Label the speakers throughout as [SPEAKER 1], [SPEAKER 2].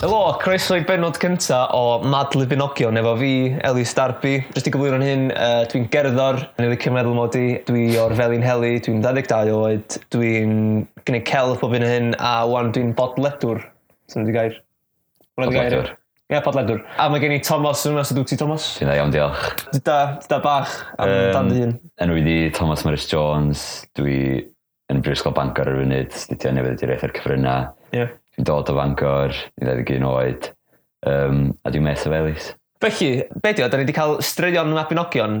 [SPEAKER 1] Helo, croeso i benod cynta o Mad Libinogion efo fi, Elis Darby. Jyst i gyflwyno'n hyn, uh, dwi'n gerddor, yn ei meddwl mod i, dwi o'r Felin Heli, dwi'n 22 oed, dwi'n gwneud celf bob hyn a hyn, a wan dwi'n bodledwr. Sy'n di gair? Hwnna 'di gair?
[SPEAKER 2] Podledwr.
[SPEAKER 1] Ie, podledwr. A mae gen i Thomas yma, so dwi ti Thomas?
[SPEAKER 2] Dwi'n dda iawn, diolch.
[SPEAKER 1] Da, da bach, am
[SPEAKER 2] Yym,
[SPEAKER 1] dan dy hun.
[SPEAKER 2] Enw i di Thomas Morris Jones, dwi yn Brifysgol Bangor ar y funud, studio nefyd i'r eitha'r cyfryna.
[SPEAKER 1] Ie.
[SPEAKER 2] Dwi'n dod o Bangor, i 21 oed, um, a dwi'n mes o felis.
[SPEAKER 1] Felly, be di o, da ni wedi cael straeon yn Mabinogion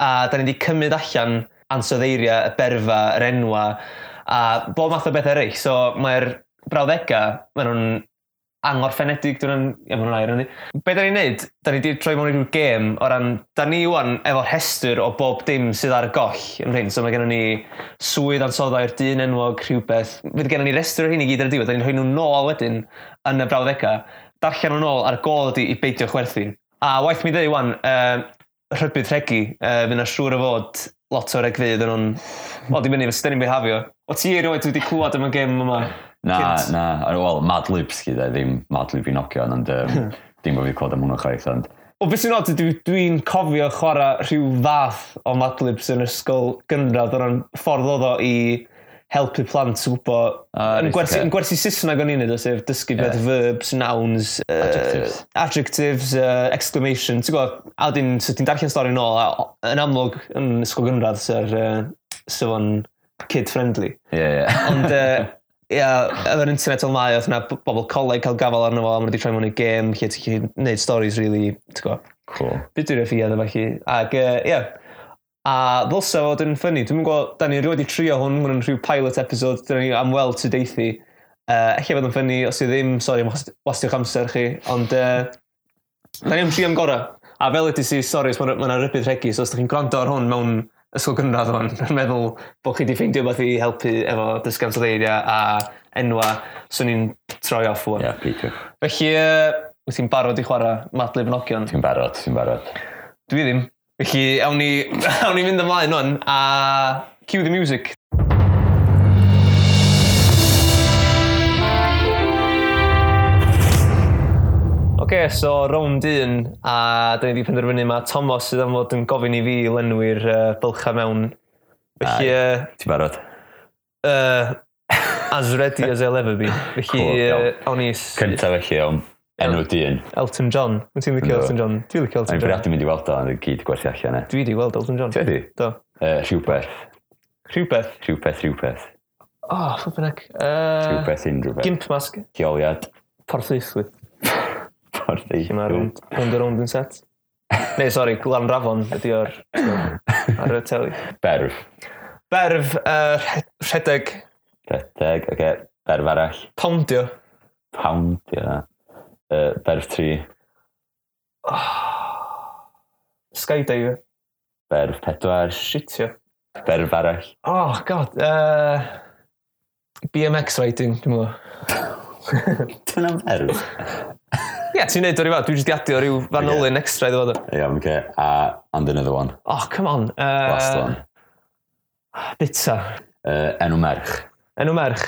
[SPEAKER 1] a da ni wedi cymryd allan ansoddeiriau, y berfa, yr enwa a bob math o bethau eraill. So mae'r brawddegau, maen nhw'n angorffenedig, dwi'n yn... Ie, maen nhw'n air yn di. Be da ni'n neud, da ni wedi troi mewn i ryw gêm o ran... Da ni wan efo'r hester o bob dim sydd ar y goll yn rhain. So mae gennym ni swydd ansoddau'r dyn enwog rhywbeth. Fydd gennym ni rester o hyn i gyd ar y diwedd. Da ni'n rhoi nhw nôl wedyn yn y brawddegau. Darllen nhw nôl ar y gol ydi i beidio chwerthin. A waith mi ddeu wan, uh, rhybydd regi, uh, fydd na siŵr o fod lot o regfydd yn o'n... Wel, di mynd i fysdyn ni'n bihafio. O ti erioed wedi clywed am y gêm yma?
[SPEAKER 2] Na,
[SPEAKER 1] Cynt.
[SPEAKER 2] na, ar ôl, Mad Libs gyda, ddim Mad Lib i nogion, ond um, dim bod fi'n clod am hwnnw chwaith, ond
[SPEAKER 1] O beth sy'n oed, dwi- dwi'n cofio chwarae rhyw fath o madlibs yn ysgol gynradd o ran ffordd oedd o i helpu plant gwybod
[SPEAKER 2] Ah,
[SPEAKER 1] yn
[SPEAKER 2] reit,
[SPEAKER 1] gwersi,
[SPEAKER 2] ocê.
[SPEAKER 1] yn gwersi Saesneg o'n unig, sef dysgu beth
[SPEAKER 2] Ie.
[SPEAKER 1] verbs, nouns, yy,
[SPEAKER 2] Adjectives.
[SPEAKER 1] adjectives uh, exclamation, ti'n gwybod, a wedyn, so ti'n darllen stori nôl, a o- yn amlwg yn ysgol gynradd sy'r uh, sefon kid-friendly.
[SPEAKER 2] ie, ie.
[SPEAKER 1] Ond, yy, ia, efo'r internet fel mae, oedd yna b- bobl coleg cael gafel arno fo, a maen nhw wedi troi mewn i gêm, lle ti'n gallu gwneud stories, really, ti'n gwybod,
[SPEAKER 2] Cool.
[SPEAKER 1] byd dwi'n effi adeg felly. Ac, yy, ie, a ddylsa fod yn ffynnu, dwi'n gwybod, da ni rioed i trio hwn, hwn yn rhyw pilot episode, da ni am weld to deithi. Uh, Ella fydd yn ffynnu, os yw ddim, sori am was- wastio'ch amser chi, ond uh, da ni am tri am gorau. A fel ydy si, sori, os mae yna rybydd regi, so os ydych chi'n gwrando ar hwn mewn ysgol gynradd hwn, yn meddwl bod chi wedi ffeindio beth i helpu efo dysgu am syldeiriau a enwa, so ni'n troi off
[SPEAKER 2] Ie,
[SPEAKER 1] hwn.
[SPEAKER 2] yeah, peidiwch.
[SPEAKER 1] Felly, uh, wyt ti'n barod i chwarae Madlib Nogion?
[SPEAKER 2] Ti'n barod, ti'n barod.
[SPEAKER 1] Dwi ddim. Felly, awn ni, awn ni mynd ymlaen o'n, a cue the music. Oce, okay, so rownd un, a da ni wedi penderfynu mae Thomas sydd am fod yn gofyn i fi lenwi'r uh, bylcha mewn. Felly, uh,
[SPEAKER 2] Ti'n barod.
[SPEAKER 1] uh, as ready as I'll ever be. Felly,
[SPEAKER 2] Cool,
[SPEAKER 1] uh,
[SPEAKER 2] iawn.
[SPEAKER 1] awn ni s-
[SPEAKER 2] Cynta felly o'n enw dyn.
[SPEAKER 1] Elton John. Wyt ti'n licio
[SPEAKER 2] Yndw.
[SPEAKER 1] Elton John? Dwi'n licio
[SPEAKER 2] A'n
[SPEAKER 1] Elton John.
[SPEAKER 2] bwriadu mynd i weld o, ond y gyd gwerthu allan e.
[SPEAKER 1] Dwi wedi gweld Elton John.
[SPEAKER 2] Ti wedi?
[SPEAKER 1] Do.
[SPEAKER 2] Uh, rhywbeth,
[SPEAKER 1] Rhywbeth.
[SPEAKER 2] rhywbeth, rhywbeth.
[SPEAKER 1] Oh, flippin' heck. Uh,
[SPEAKER 2] Rhywbeth unrhyw beth.
[SPEAKER 1] gimp mask.
[SPEAKER 2] Lleoliad.
[SPEAKER 1] Porthaethwy.
[SPEAKER 2] Ffordd ei.
[SPEAKER 1] Lle mae rownd, rownd a rownd yn set. Neu, sori, Glan Rafon ydi o'r ar y teli.
[SPEAKER 2] Berf.
[SPEAKER 1] Berf, uh, rhedeg,
[SPEAKER 2] Rhedeg, oce. Okay. Berf arall.
[SPEAKER 1] poundio.
[SPEAKER 2] Pound, ie. Yeah. Uh, berf tri.
[SPEAKER 1] Skydiver.
[SPEAKER 2] Berf pedwar.
[SPEAKER 1] Shitio.
[SPEAKER 2] Berf arall.
[SPEAKER 1] Oh, god. Uh, BMX riding, dwi'n mwyn.
[SPEAKER 2] Dyna'n berf.
[SPEAKER 1] Ie, yeah, ti'n neud o'r i fod, dwi'n jyst adio ryw fanolin extra iddo fo. do.
[SPEAKER 2] Ie, oce. A, and another one.
[SPEAKER 1] Oh, come on.
[SPEAKER 2] Last
[SPEAKER 1] Uh,
[SPEAKER 2] one.
[SPEAKER 1] bita.
[SPEAKER 2] Uh, enw merch.
[SPEAKER 1] Enw merch.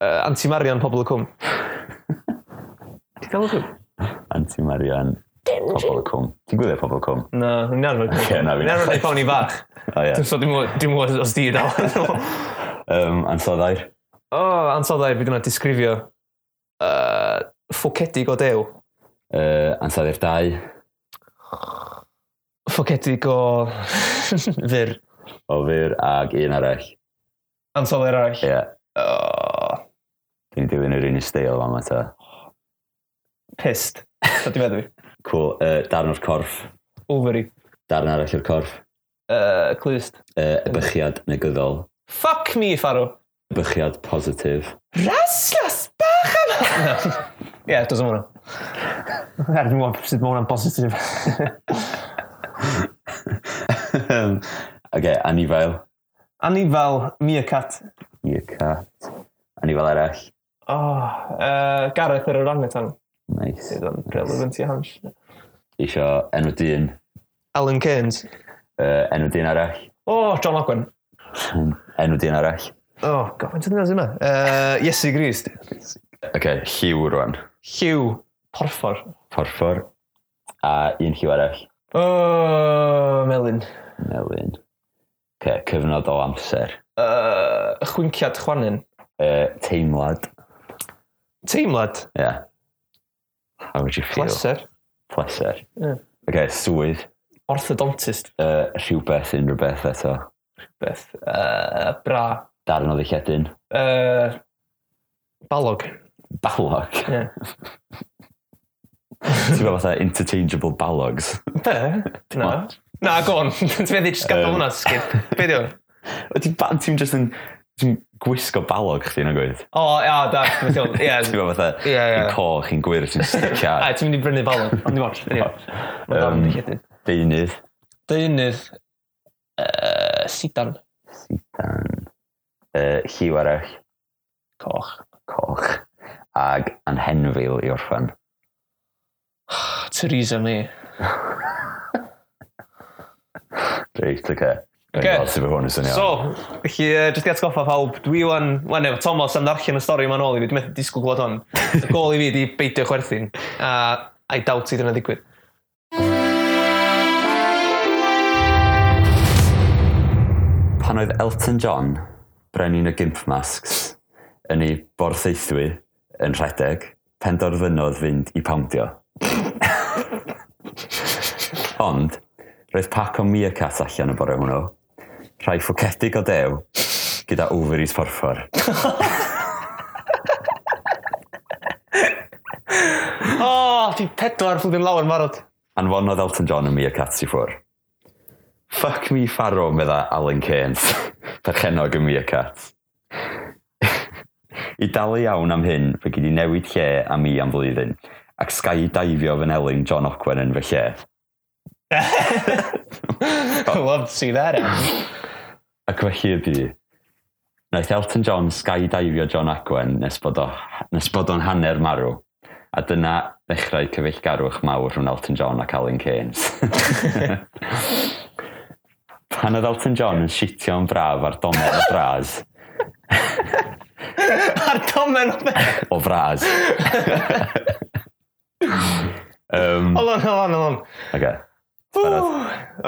[SPEAKER 1] Uh, Anti-Marian pobl y cwm. Ti'n galw cwm?
[SPEAKER 2] Anti-Marian. Pobl y cwm. Ti'n gwylio pobl y cwm?
[SPEAKER 1] Na, ni'n arfer cwm.
[SPEAKER 2] Ie, na, fi'n
[SPEAKER 1] Ni'n arfer
[SPEAKER 2] arfer.
[SPEAKER 1] neud pawn i fach.
[SPEAKER 2] O, ie.
[SPEAKER 1] So dim mwy- dim mwy os di dal.
[SPEAKER 2] Um, ansoddair.
[SPEAKER 1] O, ansoddau bydd yna disgrifio. Uh, ffocedig o dew.
[SPEAKER 2] Uh, ansoddair dau.
[SPEAKER 1] Ffocedig o... Fyr.
[SPEAKER 2] Ofyr ag un arall.
[SPEAKER 1] Ansoddau arall.
[SPEAKER 2] Ie.
[SPEAKER 1] Oh,
[SPEAKER 2] Dwi'n dilyn yr un i steil fan ta.
[SPEAKER 1] pissed. So di meddwl fi.
[SPEAKER 2] Cool. Uh, darn o'r corff.
[SPEAKER 1] Ovary.
[SPEAKER 2] Darn arall o'r corff.
[SPEAKER 1] Uh, clust.
[SPEAKER 2] Uh, ebychiad negyddol.
[SPEAKER 1] Fuck me, Faro.
[SPEAKER 2] Bychiad positif.
[SPEAKER 1] Raslas bach am... Ie, yeah, does hwnna. Er, dwi'n meddwl sydd mae hwnna'n positif.
[SPEAKER 2] Oce, okay, anifail.
[SPEAKER 1] Anifal, meerkat.
[SPEAKER 2] Ie, cat. Anifail arall.
[SPEAKER 1] Oh, uh, Gareth yr orangetan.
[SPEAKER 2] Nice.
[SPEAKER 1] Sydd yn relevant i hans.
[SPEAKER 2] Isio enw dyn.
[SPEAKER 1] Alan Cairns.
[SPEAKER 2] Uh, enw dyn arall.
[SPEAKER 1] Oh, John Ogwen.
[SPEAKER 2] enw dyn arall.
[SPEAKER 1] Oh, god, faint o ddinas yma? Uh, Iesu Grist.
[SPEAKER 2] Oce, okay, lliw rwan.
[SPEAKER 1] Lliw porffor.
[SPEAKER 2] porffor, a un lliw arall,
[SPEAKER 1] O, melun.
[SPEAKER 2] melun. Ce- Cyfnod o amser.
[SPEAKER 1] Uh, chwinciad chwanyn.
[SPEAKER 2] Uh, teimlad.
[SPEAKER 1] Teimlad.
[SPEAKER 2] Yeah. How would you feel?
[SPEAKER 1] Pleser.
[SPEAKER 2] Pleser.
[SPEAKER 1] Ie.
[SPEAKER 2] Okay, swydd.
[SPEAKER 1] Orthodontist.
[SPEAKER 2] Uh, rhywbeth, unrhyw beth eto.
[SPEAKER 1] Beth. Uh, bra.
[SPEAKER 2] Darn o ddichedyn.
[SPEAKER 1] Uh, balog.
[SPEAKER 2] Balog.
[SPEAKER 1] Ie.
[SPEAKER 2] Ti'n gwybod fatha interchangeable balogs?
[SPEAKER 1] Be? Na. Na, go on. Ti'n feddi just gadael
[SPEAKER 2] Yym.
[SPEAKER 1] hwnna, skip. Be di hwn?
[SPEAKER 2] Ti'n ti'n just yn... Ti'n gwisgo balog chdi yn ogwydd.
[SPEAKER 1] O, ia, da. dwi'n meddwl,
[SPEAKER 2] Ti'n
[SPEAKER 1] Ie.
[SPEAKER 2] gwybod fatha...
[SPEAKER 1] Ie, ie.
[SPEAKER 2] Yn coch, yn gwir, ti'n sticio
[SPEAKER 1] A,
[SPEAKER 2] ar.
[SPEAKER 1] ti'n mynd i brynu balog. Ond dim ond. Anyway. Mae'n dal yn
[SPEAKER 2] Yym.
[SPEAKER 1] ddichedyn.
[SPEAKER 2] Deunydd.
[SPEAKER 1] Deunydd. Uh, sidan.
[SPEAKER 2] Dan. Uh, lliw arall.
[SPEAKER 1] Coch.
[SPEAKER 2] Coch. Ag anhenfil i orffan.
[SPEAKER 1] Theresa May.
[SPEAKER 2] Reit, oce. Okay.
[SPEAKER 1] Ocê.
[SPEAKER 2] Gweld sydd hwn yn swnio.
[SPEAKER 1] So, felly, uh, jyst i atgoffa pawb, dwi wan, wan efo Thomas am ddarllen y stori ma'n ôl i fi, dwi'n methu disgwyl gwybod hon. Y gol i fi di beidio chwerthin, a I doubt sydd yna ddigwydd.
[SPEAKER 2] Pan oedd Elton John, brenin y gimp masks, yn ei borthaethwy yn rhedeg, penderfynodd fynd i poundio. Ond, roedd pac o meerkat allan y bore hwnnw, rhai ffwcedig o dew, gyda ovaries porffor.
[SPEAKER 1] O, oh, di pedwar flwyddyn lawer yn marod.
[SPEAKER 2] Anfonodd Elton John y meerkat i ffwr. Fuck me farrow, medda Alan Cairns, perchenog y meerkat. I dalu iawn am hyn, fe gyd i newid lle am i am flwyddyn, ac sgai i daifio fy nelyn John Ocwen yn fy lle.
[SPEAKER 1] Love to see that. Em.
[SPEAKER 2] Ac felly y bu, wnaeth Elton John sgai daifio John Ocwen nes bod, o, nes bod o'n hanner marw, a dyna ddechrau cyfeillgarwch mawr rhwng Elton John ac Alan Cairns. pan oedd Elton John yn sitio yn braf ar domen o fras,
[SPEAKER 1] A'r domen o beth.
[SPEAKER 2] o fras. um,
[SPEAKER 1] Hold on, hold on, hold on.
[SPEAKER 2] okay.
[SPEAKER 1] Ww.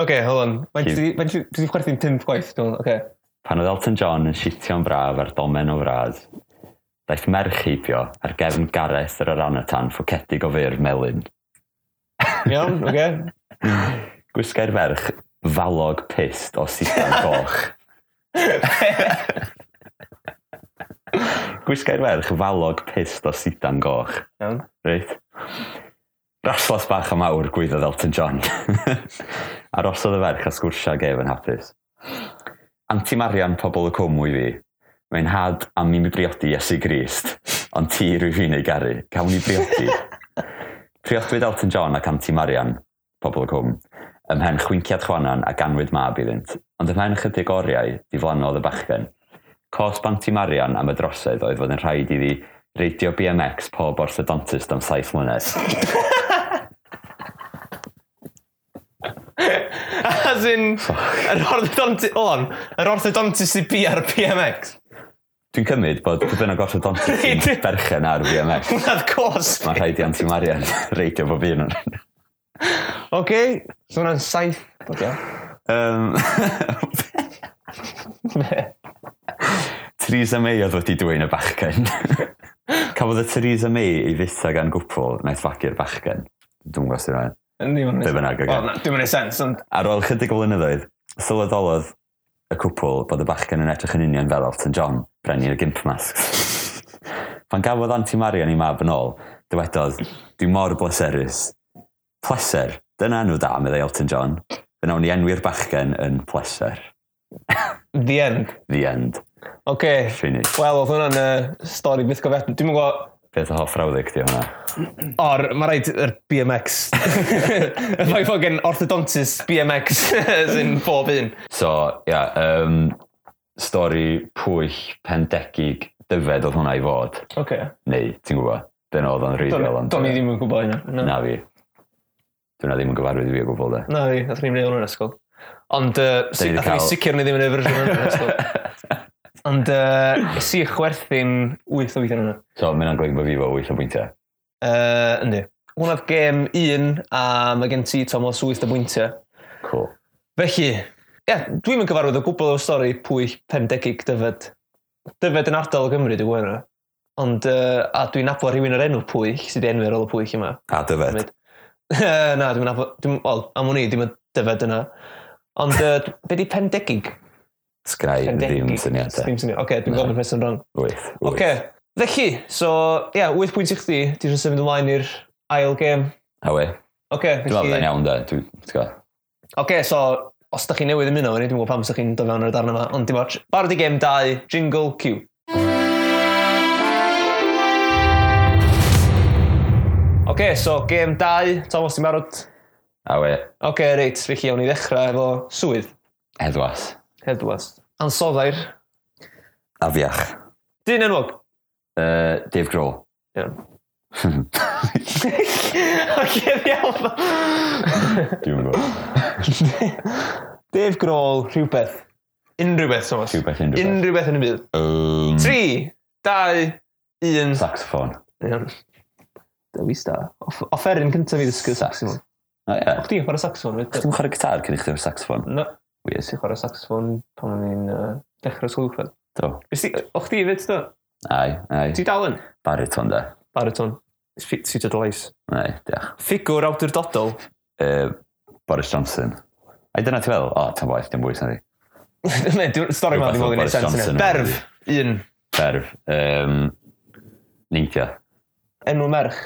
[SPEAKER 1] Oce, hold on. Mae'n
[SPEAKER 2] Cyn-
[SPEAKER 1] ti mae'n ti- ti di chwerthin pump gwaith, dwi'n meddwl, oce.
[SPEAKER 2] Pan oedd Elton John yn sitio yn braf ar domen o fras, daeth merch heibio ar gefn gareth yr oranatan ffwcedig o fyr melun.
[SPEAKER 1] Iawn, oce.
[SPEAKER 2] Gwisgai'r ferch falog pist o sidan goch. Gwisgai'r ferch falog pist o sidan goch.
[SPEAKER 1] Iawn.
[SPEAKER 2] Reit. Raslas bach a mawr gwyddoedd Elton John. Arosodd y ferch a sgwrsia gef yn hapus. Anti Marian pobl y cwm i fi. Mae'n had am i mi briodi Iesu Grist, ond ti rwy fi'n ei garu. Cawn ni briodi. Priodwyd Elton John ac Anti Marian, pobl y cwm, ymhen chwinciad chwanan a ganwyd mab iddynt, ond ymhen ychydig oriau, diflannodd y bachgen. Cos Banti Marian am y drosedd oedd fod yn rhaid iddi reidio BMX pob orthodontist am saith mlynedd.
[SPEAKER 1] As in, yr orthodontist, hold on, yr orthodontist i bu ar BMX.
[SPEAKER 2] Dwi'n cymryd bod pwbyn o orthodontist yn
[SPEAKER 1] Reidio-
[SPEAKER 2] berchen ar BMX.
[SPEAKER 1] Hwnna'n cost.
[SPEAKER 2] Mae rhaid i Anti Marian reidio bob un. o'n-
[SPEAKER 1] Oce, so hwnna'n saith. Oce.
[SPEAKER 2] Um, Theresa May oedd wedi dweud y bachgen. Cafodd y Theresa May ei fitha gan gwpl naeth fagu'r bachgen. Dwi'n gwybod sy'n rhaid.
[SPEAKER 1] Yndi, mae'n
[SPEAKER 2] Be bynnag, oce.
[SPEAKER 1] Dwi'n mynd i sens, ond...
[SPEAKER 2] Ar ôl chydig o flynyddoedd, sylweddolodd y cwpl bod y bachgen yn edrych yn union fel Elton John, brenu'r gimp masks. Pan gafodd Anti Marian i mab yn ôl, dywedodd, dwi mor bleserus. Pleser, dyna nhw da, meddai Elton John. Fe nawn ni enwi'r bachgen yn pleser.
[SPEAKER 1] The end.
[SPEAKER 2] The end.
[SPEAKER 1] Oce. Okay.
[SPEAKER 2] Finish.
[SPEAKER 1] Wel, oedd hwnna'n uh, stori byth gofetwn. Dwi'n gwybod...
[SPEAKER 2] Beth o hoff rawddeg di hwnna?
[SPEAKER 1] Or, mae rhaid yr BMX. Y fai ffogin orthodontist BMX sy'n bob un.
[SPEAKER 2] So, ia, yeah, um, stori pwyll pendegig dyfed oedd hwnna i fod.
[SPEAKER 1] Oce. Okay.
[SPEAKER 2] Neu, ti'n gwybod, dyna oedd o'n reidiol. ond-
[SPEAKER 1] Do'n i ddim yn gwybod hynna. Na,
[SPEAKER 2] Na fi. Dwi'n ddim yn gyfarwydd i fi o gwbl de.
[SPEAKER 1] na fi, nath ni'n neud hwnna'n ysgol. Ond, uh, si,
[SPEAKER 2] ni 'di
[SPEAKER 1] nath ni
[SPEAKER 2] cael-
[SPEAKER 1] sicr ni ddim yn ei fersiwn hwnna'n ysgol. Ond, uh, si chwerthin 8 o weithio hwnna.
[SPEAKER 2] So, mae'n anglwyd bod fi fo wyth o bwyntiau.
[SPEAKER 1] Uh, yndi. Hwna'n gêm un a mae gen ti Thomas 8 o bwyntiau.
[SPEAKER 2] Cool.
[SPEAKER 1] Felly, ia, dwi'n mynd cyfarwydd o gwbl o'r stori pwy 50 dyfed. Dyfed yn ardal Gymru, dwi'n gwybod hynna. Ond, uh, a dwi'n nabod rhywun o'r enw pwy, sydd wedi enw ar ôl y pwy yma.
[SPEAKER 2] A dyfed.
[SPEAKER 1] Mynd. Na, dwi'n nabod, dwi'n, wel, am o'n i, dwi'n dyfed yna. Ond, uh, be di 50?
[SPEAKER 2] Sgrai ddim syniadau.
[SPEAKER 1] Ddim syniadau. Oce, dwi'n
[SPEAKER 2] Na.
[SPEAKER 1] gofyn person rong.
[SPEAKER 2] Wyth. wyth.
[SPEAKER 1] Oce, felly, so, ia, 8 pwynt i chdi, ti'n symud ymlaen i'r ail gêm.
[SPEAKER 2] A we.
[SPEAKER 1] Oce,
[SPEAKER 2] Dwi'n meddwl bod
[SPEAKER 1] felly...
[SPEAKER 2] e'n iawn da. Dwi'n gwybod.
[SPEAKER 1] Oce, so, os da chi newydd yn mynd o fyny, dwi'n gwybod pam sy'ch chi'n dod fewn ar y darn yma, ond dim ots. Barod i gêm 2, Jingle Q. Oce, so, gêm 2, Thomas, ti'n barod?
[SPEAKER 2] A we.
[SPEAKER 1] Oce, reit, felly, awn i ddechrau efo swydd,
[SPEAKER 2] Edwas.
[SPEAKER 1] heddwas. Ansoddair,
[SPEAKER 2] A fiach.
[SPEAKER 1] dyn enwog.
[SPEAKER 2] Uh, Dave Grohl.
[SPEAKER 1] Iawn. Oce, iawn.
[SPEAKER 2] Dwi'n gwybod.
[SPEAKER 1] Dave Grohl, rhywbeth. Unrhyw beth, Thomas.
[SPEAKER 2] Rhywbeth unrhyw beth.
[SPEAKER 1] Unrhyw beth yn y byd.
[SPEAKER 2] Um,
[SPEAKER 1] Tri, dau, un.
[SPEAKER 2] Saxophone.
[SPEAKER 1] Iawn. Dewis da. Off- Offeryn cyntaf i ddysgu
[SPEAKER 2] Sax.
[SPEAKER 1] saxofon.
[SPEAKER 2] O ie.
[SPEAKER 1] O, chdi'n chwarae saxofon? wyt?
[SPEAKER 2] Dwi'n chwarae gitar cyn i chdi o'r saxophone.
[SPEAKER 1] Na,
[SPEAKER 2] Weird.
[SPEAKER 1] ti'n chwarae saxofon pan o'n i'n uh, dechrau sgwyl uwchradd.
[SPEAKER 2] Do.
[SPEAKER 1] O, chdi fyd, do?
[SPEAKER 2] Ai, ai.
[SPEAKER 1] Ti dal yn?
[SPEAKER 2] Bariton da.
[SPEAKER 1] Bariton. Ti dod lais.
[SPEAKER 2] Ai, diolch.
[SPEAKER 1] Ffigwr awdur dodol.
[SPEAKER 2] Uh, Boris Johnson. Ai, dyna ti'n feddwl? O, ta'n boeth, dim bwys na di.
[SPEAKER 1] Ne, dwi'n- stori ma,
[SPEAKER 2] Rhywbeth
[SPEAKER 1] ddim
[SPEAKER 2] o
[SPEAKER 1] yn gwneud
[SPEAKER 2] Boris
[SPEAKER 1] sens
[SPEAKER 2] Johnson
[SPEAKER 1] yna.
[SPEAKER 2] yma.
[SPEAKER 1] Berf, un.
[SPEAKER 2] Ferf. Um, Neidio.
[SPEAKER 1] Enw merch.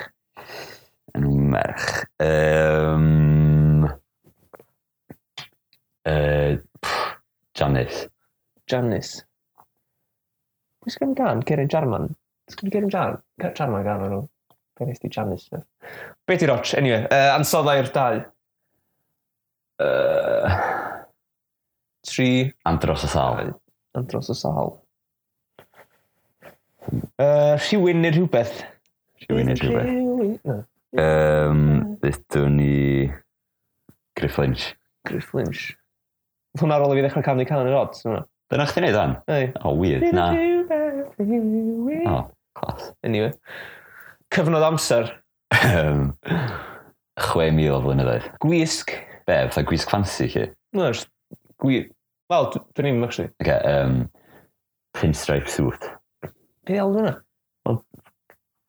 [SPEAKER 2] Enw merch. Um, uh, Janice.
[SPEAKER 1] Janice. Pwy sgan gan? Gerin Jarman? Sgan Gerin Jarman? Jarman gan o'n nhw? Be nes di Janice? Ne? Be ti roch? Anyway, uh, ansoddau'r dau.
[SPEAKER 2] Uh,
[SPEAKER 1] Tri
[SPEAKER 2] Andros y sal.
[SPEAKER 1] yn dros y sal. Uh, rhywun neu rhywbeth.
[SPEAKER 2] Rhywun neu rhywbeth.
[SPEAKER 1] Rhywun- Na,
[SPEAKER 2] Um, Ddydwn ni Griff Lynch.
[SPEAKER 1] Griff Lynch. Hwna ar ôl i fi ddechrau canu can yn yr odds. hwnna.
[SPEAKER 2] Dyna chdi wneud o'n?
[SPEAKER 1] Ei.
[SPEAKER 2] O, weird. Na.
[SPEAKER 1] Rhywbeth, rhywun.
[SPEAKER 2] O, clas.
[SPEAKER 1] Oh. Anyway. Cyfnod amser.
[SPEAKER 2] Um, 6,000 o flynyddoedd.
[SPEAKER 1] Gwisg.
[SPEAKER 2] Be, fatha gwisg fancy chi?
[SPEAKER 1] Na, jyst gwi... Wel, dw- dwi ddim actually.
[SPEAKER 2] Okay, um, pinstripe suit.
[SPEAKER 1] Be alw hwnna? Wel,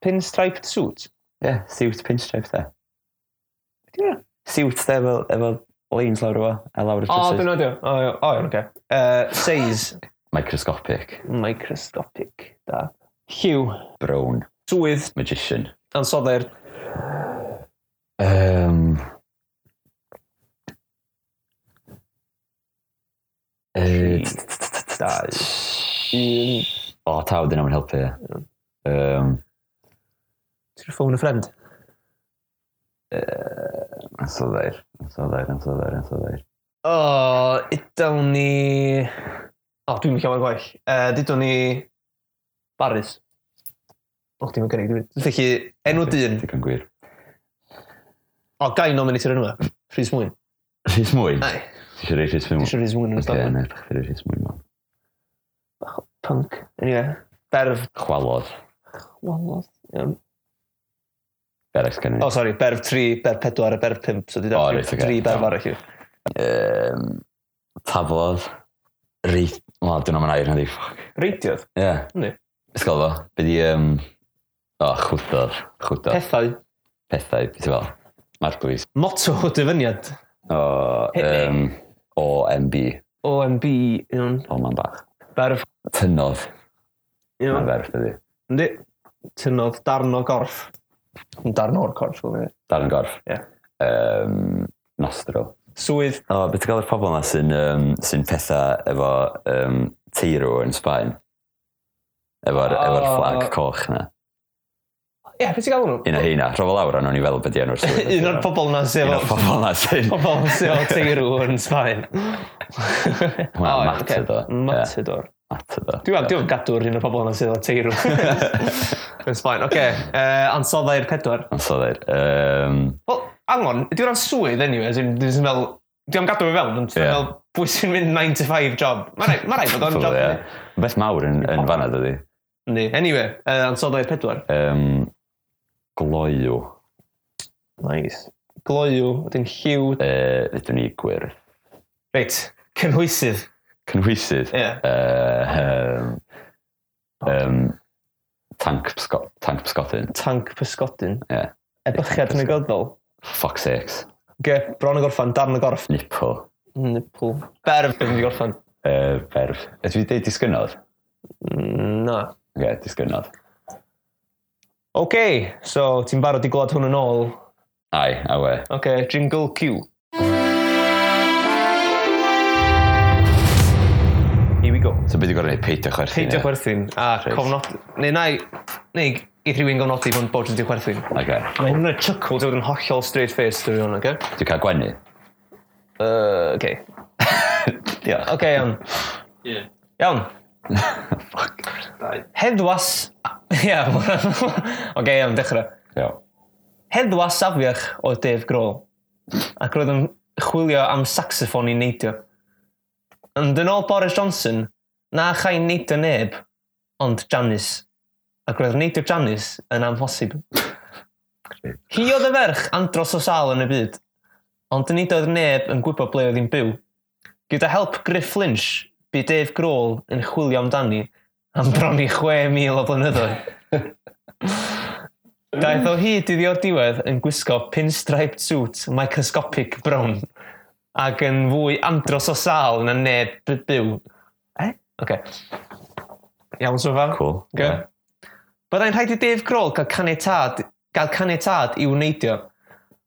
[SPEAKER 1] pinstriped suit?
[SPEAKER 2] Ie, yeah, suit pinstripe te.
[SPEAKER 1] Ydi hwnna?
[SPEAKER 2] Suit te efo, efo leins lawr o fo, a lawr y
[SPEAKER 1] O,
[SPEAKER 2] trusses.
[SPEAKER 1] dwi'n odio. O, ia- o, iawn, oce. Yy, Size.
[SPEAKER 2] Microscopic.
[SPEAKER 1] Microscopic. Da. Hugh.
[SPEAKER 2] Brown.
[SPEAKER 1] Swydd.
[SPEAKER 2] Magician.
[SPEAKER 1] Ansoddair.
[SPEAKER 2] Um, uh,
[SPEAKER 1] Dau. Un.
[SPEAKER 2] o, taw, dyna mae'n helpu. ie. Um,
[SPEAKER 1] Ti'n ffôn y ffrind?
[SPEAKER 2] yn sylfair, yn sylfair, yn sylfair, yn sylfair.
[SPEAKER 1] O, udawn ni... O, dwi'n mynd llawer gwaith. Uh, Dydwn ni... Baris. O, dwi'n mynd gynnig. dwi'n- Felly, enw dyn.
[SPEAKER 2] Digon gwir.
[SPEAKER 1] O, gai nominator enw e. Rhys Mwyn.
[SPEAKER 2] Rhys mwyn?
[SPEAKER 1] Ai.
[SPEAKER 2] Ti eisiau rhaid rhys mwyn?
[SPEAKER 1] Dwi'n siŵr Rhys Mwyn yn
[SPEAKER 2] Ok,
[SPEAKER 1] ystod.
[SPEAKER 2] neu bach fi rhys mwyn mwyn.
[SPEAKER 1] Punk. Anyway. Berf.
[SPEAKER 2] Chwalodd.
[SPEAKER 1] Walodd. Iawn.
[SPEAKER 2] Berex gen i.
[SPEAKER 1] O, oh, sori, berf 3, berf 4 a berf 5, so di
[SPEAKER 2] O,
[SPEAKER 1] dal
[SPEAKER 2] reit, ocê.
[SPEAKER 1] 3 berf arall i.
[SPEAKER 2] Um, taflodd. Reit. O, dwi'n am yn air na di. Ffoc.
[SPEAKER 1] Reitiodd?
[SPEAKER 2] Ie.
[SPEAKER 1] Yndi.
[SPEAKER 2] Ysgol fo. Be di... Um, o, chwdodd. Chwdodd.
[SPEAKER 1] Pethau.
[SPEAKER 2] pethau, beth i fel, marglwydd.
[SPEAKER 1] Motto o dyfyniad.
[SPEAKER 2] O,
[SPEAKER 1] Hynny.
[SPEAKER 2] um, OMB,
[SPEAKER 1] OMB, iawn.
[SPEAKER 2] o man bach.
[SPEAKER 1] Berf,
[SPEAKER 2] Tynodd, mae'n
[SPEAKER 1] iawn.
[SPEAKER 2] ferth ydi.
[SPEAKER 1] Yndi. Tynodd darn o gorff. Darn o'r corff, fel yna.
[SPEAKER 2] Darn yn gorff.
[SPEAKER 1] Ie.
[SPEAKER 2] Um, nostro.
[SPEAKER 1] Swydd.
[SPEAKER 2] O, beth i gael yr pobl yna sy'n um, sy pethau efo um, teirw yn Sbaen? Efo'r
[SPEAKER 1] O.
[SPEAKER 2] efo fflag coch na.
[SPEAKER 1] Ie, yeah, beth i gael nhw?
[SPEAKER 2] Un o heina. Rho fo lawr, a nhw'n i feddwl beth i enw'r swydd.
[SPEAKER 1] Un o'r pobol na sy'n
[SPEAKER 2] Un o'r
[SPEAKER 1] efo...
[SPEAKER 2] pobl yna sy'n...
[SPEAKER 1] Pobol sy'n efo teirw yn Sbaen.
[SPEAKER 2] Wel,
[SPEAKER 1] O,
[SPEAKER 2] Matador,
[SPEAKER 1] ocê.
[SPEAKER 2] ie.
[SPEAKER 1] Matador.
[SPEAKER 2] Matador.
[SPEAKER 1] Dwi'n dwi'n gadw'r un o'r pobol na sy'n efo teirw yn Sbaen. Oce, yy, ansoddau'r pedwar.
[SPEAKER 2] Ond so ddeir. Um,
[SPEAKER 1] Wel, angon, dwi'n rhan swydd anyway, as in, dwi'n fel, dwi'n am gadw fi fewn, ond
[SPEAKER 2] Ie.
[SPEAKER 1] yeah. fel, pwy sy'n mynd 9 to 5 job? Mae rai, ma rai bod o'n job.
[SPEAKER 2] ie. Beth mawr yn, yn fanna dydi.
[SPEAKER 1] Ni, anyway, uh, ansoddair pedwar.
[SPEAKER 2] Um, gloiw.
[SPEAKER 1] Nice. Gloiw, wedyn lliw.
[SPEAKER 2] E, ydyn ni gwyrdd.
[SPEAKER 1] Reit, cynhwysydd.
[SPEAKER 2] Cynhwysydd.
[SPEAKER 1] Ie.
[SPEAKER 2] E, um, um, tank, psgo, tank psgodyn.
[SPEAKER 1] Tank pysgodyn.
[SPEAKER 2] Ie.
[SPEAKER 1] Ebychiad
[SPEAKER 2] Tank
[SPEAKER 1] negyddol.
[SPEAKER 2] Fuck sakes.
[SPEAKER 1] Ge, bron y gorffan, darn y gorff.
[SPEAKER 2] Nipple.
[SPEAKER 1] Nipple. Berf yn mynd i gorffan.
[SPEAKER 2] E, berf. Ydw i dweud disgynodd?
[SPEAKER 1] Mm, Na.
[SPEAKER 2] Ie, okay, disgynodd.
[SPEAKER 1] OK, so ti'n barod i glod hwn yn ôl.
[SPEAKER 2] Ai, a we.
[SPEAKER 1] OK, jingle cue. Here we go.
[SPEAKER 2] So beth i gorau neud peidio e? chwerthu?
[SPEAKER 1] Peidio chwerthin a
[SPEAKER 2] Reit.
[SPEAKER 1] cofnod... Neu na i... Neu i rhywun gofnodi hwn bod yn di chwerthin.
[SPEAKER 2] Okay.
[SPEAKER 1] Mae hwnna chuckle dod yn hollol straight face dwi'n hwnna, oce?
[SPEAKER 2] Dwi'n cael gwenu.
[SPEAKER 1] Uh, oce.
[SPEAKER 2] Diolch.
[SPEAKER 1] Oce, iawn.
[SPEAKER 3] Ie.
[SPEAKER 1] Iawn.
[SPEAKER 2] Fuck.
[SPEAKER 1] Heddwas... Ia, oce, iawn, dechrau.
[SPEAKER 2] Iawn.
[SPEAKER 1] Heddwas safiach o Dave Grohl. Ac roedd yn chwilio am saxophone i neidio. Ond yn ôl Boris Johnson, na chai neidio neb, ond Janis. Ac roedd neidio Janis yn amhosib. Hi oedd y ferch andros o sal yn y byd, ond nid oedd neb yn gwybod ble oedd hi'n byw. Gyda help Griff Lynch, bu Dave Grohl yn chwilio amdani am bron i 6,000 o blynyddoedd. Daeth o hyd iddi o'r diwedd yn gwisgo pinstripe suit microscopic brown ac yn fwy andros o sal na neb by- byw. E? Okay. Iawn, so far?
[SPEAKER 2] Cool.
[SPEAKER 1] Go. Byddai'n rhaid i Dave Grohl cael caniatad, gael caniatad i wneidio.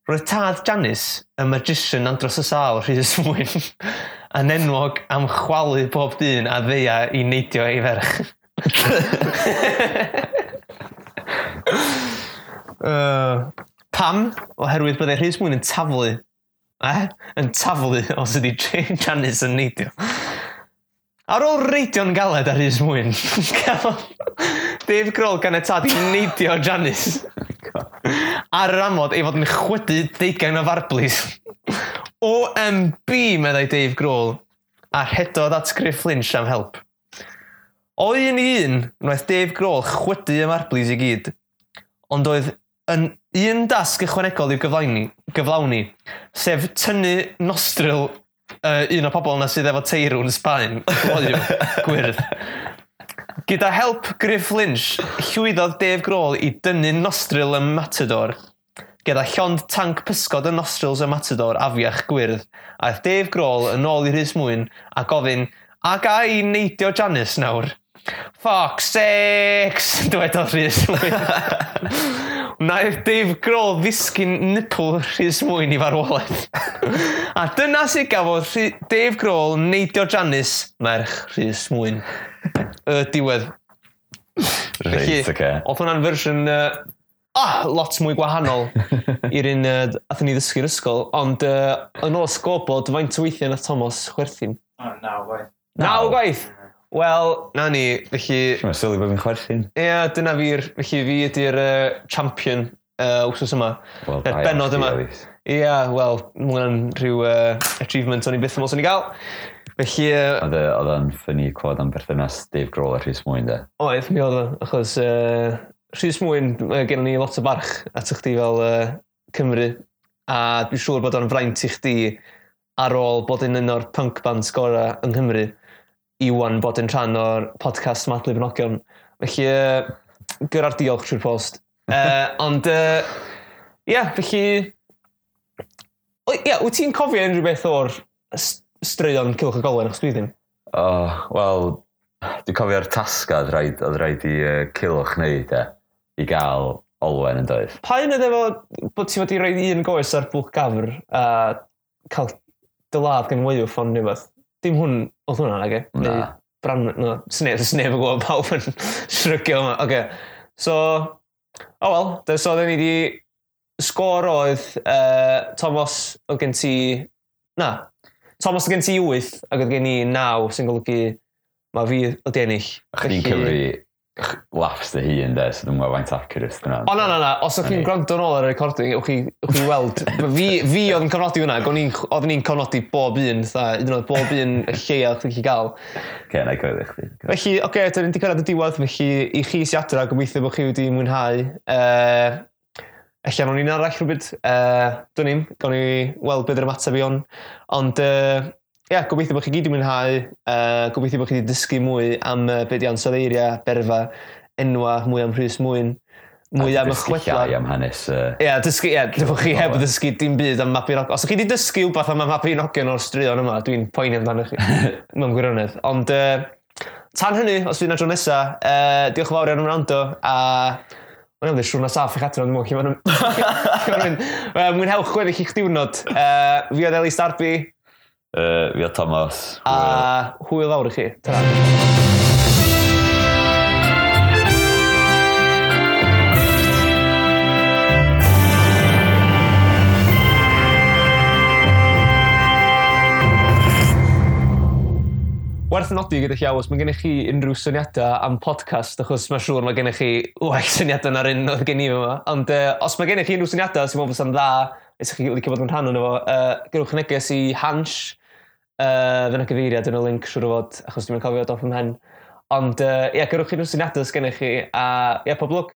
[SPEAKER 1] Roedd tad Janis, y magician andros y sal Rhys Mwyn, yn enwog am chwalu bob dyn a ddeia i neidio ei ferch. uh, pam? Oherwydd byddai Rhys Mwyn yn taflu. Eh? Yn taflu os ydi Jane Janis yn neidio. Ar ôl reidio'n galed ar Rhys Mwyn, cafodd Dave Grohl gan y tad i neidio Janis ar yr amod ei fod yn chwydu deugain o farblis. OMB, meddai Dave Grohl, a rhedodd at Griff Lynch am help. O un i un, wnaeth Dave Grohl chwydu y marblis i gyd, ond oedd yn un dasg ychwanegol i'w gyflawni, gyflawni sef tynnu nostril uh, un o pobl yna sydd efo teirw'n Sbaen, gloiw, gwyrdd. Gyda help Griff Lynch, llwyddodd Dave Grohl i dynnu nostril y Matador. Gyda llond tank pysgod y nostrils y Matador afiach gwyrdd, aeth Dave Grohl yn ôl i Rhys Mwyn a gofyn, a ga i neidio Janis nawr? Fuck sex! Dywedodd Rhys Mwyn. Wnaeth Dave Grohl ddisgyn nipple Rhys Mwyn i farwolaeth. a dyna sy'n gafodd Rhy- Dave Grohl neidio Janis merch Rhys Mwyn. Y diwedd.
[SPEAKER 2] Reit,
[SPEAKER 1] Felly,
[SPEAKER 2] oce.
[SPEAKER 1] Oedd hwnna'n fersiwn uh, ah, lot mwy gwahanol i'r un uh, athyn ni ddysgu'r ysgol, ond uh, yn ôl sgobod, faint o weithiau na Thomas chwerthin?
[SPEAKER 3] O, naw, waith.
[SPEAKER 1] Naw
[SPEAKER 2] Naw.
[SPEAKER 1] gwaith! Wel, na ni, felly,
[SPEAKER 2] Mae'n sylwi bod fi'n chwerthin.
[SPEAKER 1] ie, dyna fi'r, felly fi ydy'r uh, champion uh, wsos yma.
[SPEAKER 2] Wel,
[SPEAKER 1] Yr
[SPEAKER 2] da iawn,
[SPEAKER 1] bennod
[SPEAKER 2] chdi,
[SPEAKER 1] yma.
[SPEAKER 2] Elis.
[SPEAKER 1] Ie, wel, mwyn rhyw uh, achievement o'n i byth yn mwyn i gael. Felly, uh,
[SPEAKER 2] Oedd e- oedd o'n ffynnu clywed am berthynas Dave Grohl a Rhys Mwyn, de.
[SPEAKER 1] Oedd, mi oedd o, achos uh, Rhys Mwyn, uh, gen ni lot o barch at chdi fel uh, Cymru, a dwi'n siŵr bod o'n fraint i chdi ar ôl bod yn un o'r punk bands gorau yng Nghymru, iwan bod yn rhan o'r podcast Madlu Fynogion. Felly, uh, gyrra'r diolch trwy'r post. Uh, ond, yy, ie, uh, yeah, felly... O, Ie, yeah, wyt ti'n cofio unrhyw beth o'r s- straeon Cilch y Golen, achos dwi ddim?
[SPEAKER 2] O, wel, dwi'n cofio'r tasgad rhaid, oedd rhaid i uh, Cilwch wneud, e, i gael Olwen yn doedd.
[SPEAKER 1] Pa un oedd efo bod ti wedi rhoi un goes ar bwch gafr a cael dylad gan weiw ffon neu beth? Dim hwn, oedd hwnna, nage?
[SPEAKER 2] Na.
[SPEAKER 1] Bran, no, sneb, sneb yn gwybod pawb yn shrygio yma. Oce, so, o oh wel, dy- so oedden ni wedi sgôr oedd uh, Thomas oedd gen ti, na, Thomas oedd gen ti 8 ac oedd gen i 9 sy'n golygu mae fi oedd ennill.
[SPEAKER 2] Chdi'n
[SPEAKER 1] Felly-
[SPEAKER 2] cyfri ch- laughs dy hun, de, so dwi'n gwybod faint accurate dyna.
[SPEAKER 1] O na na na, os o'ch chi'n
[SPEAKER 2] Yndi.
[SPEAKER 1] gwrando nôl ar y recording, o'ch chi, ewch chi weld, fi, fi oedd yn cofnodi hwnna, ac o'n i'n- oeddwn i'n cofnodi bob un, tha, hyd yn oed bob un y lleia o'ch chi gael.
[SPEAKER 2] Oce, na i coelio chdi.
[SPEAKER 1] Felly, oce, okay, da ni wedi cyrraedd y diwedd, felly i chi si adra, gobeithio bod chi wedi mwynhau. Uh, Ella mewn un arall rhywbryd. Uh, Dwn ni'n, gawn ni weld beth yw'r ymateb i on. Ond, uh, ia, gobeithio bod chi gyd i mwynhau. Uh, gobeithio bod chi wedi dysgu mwy am uh, beth i ansoddeiriau, berfa, enwa, mwy am Rhys Mwyn, mwy
[SPEAKER 2] A
[SPEAKER 1] am y
[SPEAKER 2] dysgu
[SPEAKER 1] chwedla.
[SPEAKER 2] llai am hanes uh,
[SPEAKER 1] Ie, yeah, dysgu, ie, yeah, dwi chi heb
[SPEAKER 2] Wel,
[SPEAKER 1] ddysgu dim byd am mapu nogion. Os ydych chi wedi dysgu wbeth am y mapu nogion o'r straeon yma, dwi'n poeni amdano chi, mewn gwirionedd. Ond uh, tan hynny, os dwi'n adro nesa, uh, diolch yn fawr iawn am wrando, a mae'n ymwneud siwrna saff i'ch adrodd, dwi'n mwyn chi'n mynd. Mwynhewch gweddill i'ch diwrnod. Uh, fi oedd Elis Darby,
[SPEAKER 2] uh, fi o Thomas.
[SPEAKER 1] a hwyl fawr i chi. Ta-ra. Werth nodi gyda chi awos, mae gennych chi unrhyw syniadau am podcast, achos mae'n siŵr mae gennych chi waith syniadau na'r un oedd gen i yma. Ond uh, os mae gennych chi unrhyw syniadau sy'n mwyn bod yn dda, os ydych chi wedi bod yn rhan o'n efo, uh, gyrwch neges i Hans, uh, fyna gyfeiriad yn y link siŵr o fod, achos dwi'n cofio dod off ymhen. Ond uh, ia, gyrwch unrhyw syniadau sy'n gennych chi, a ia, pob lwc.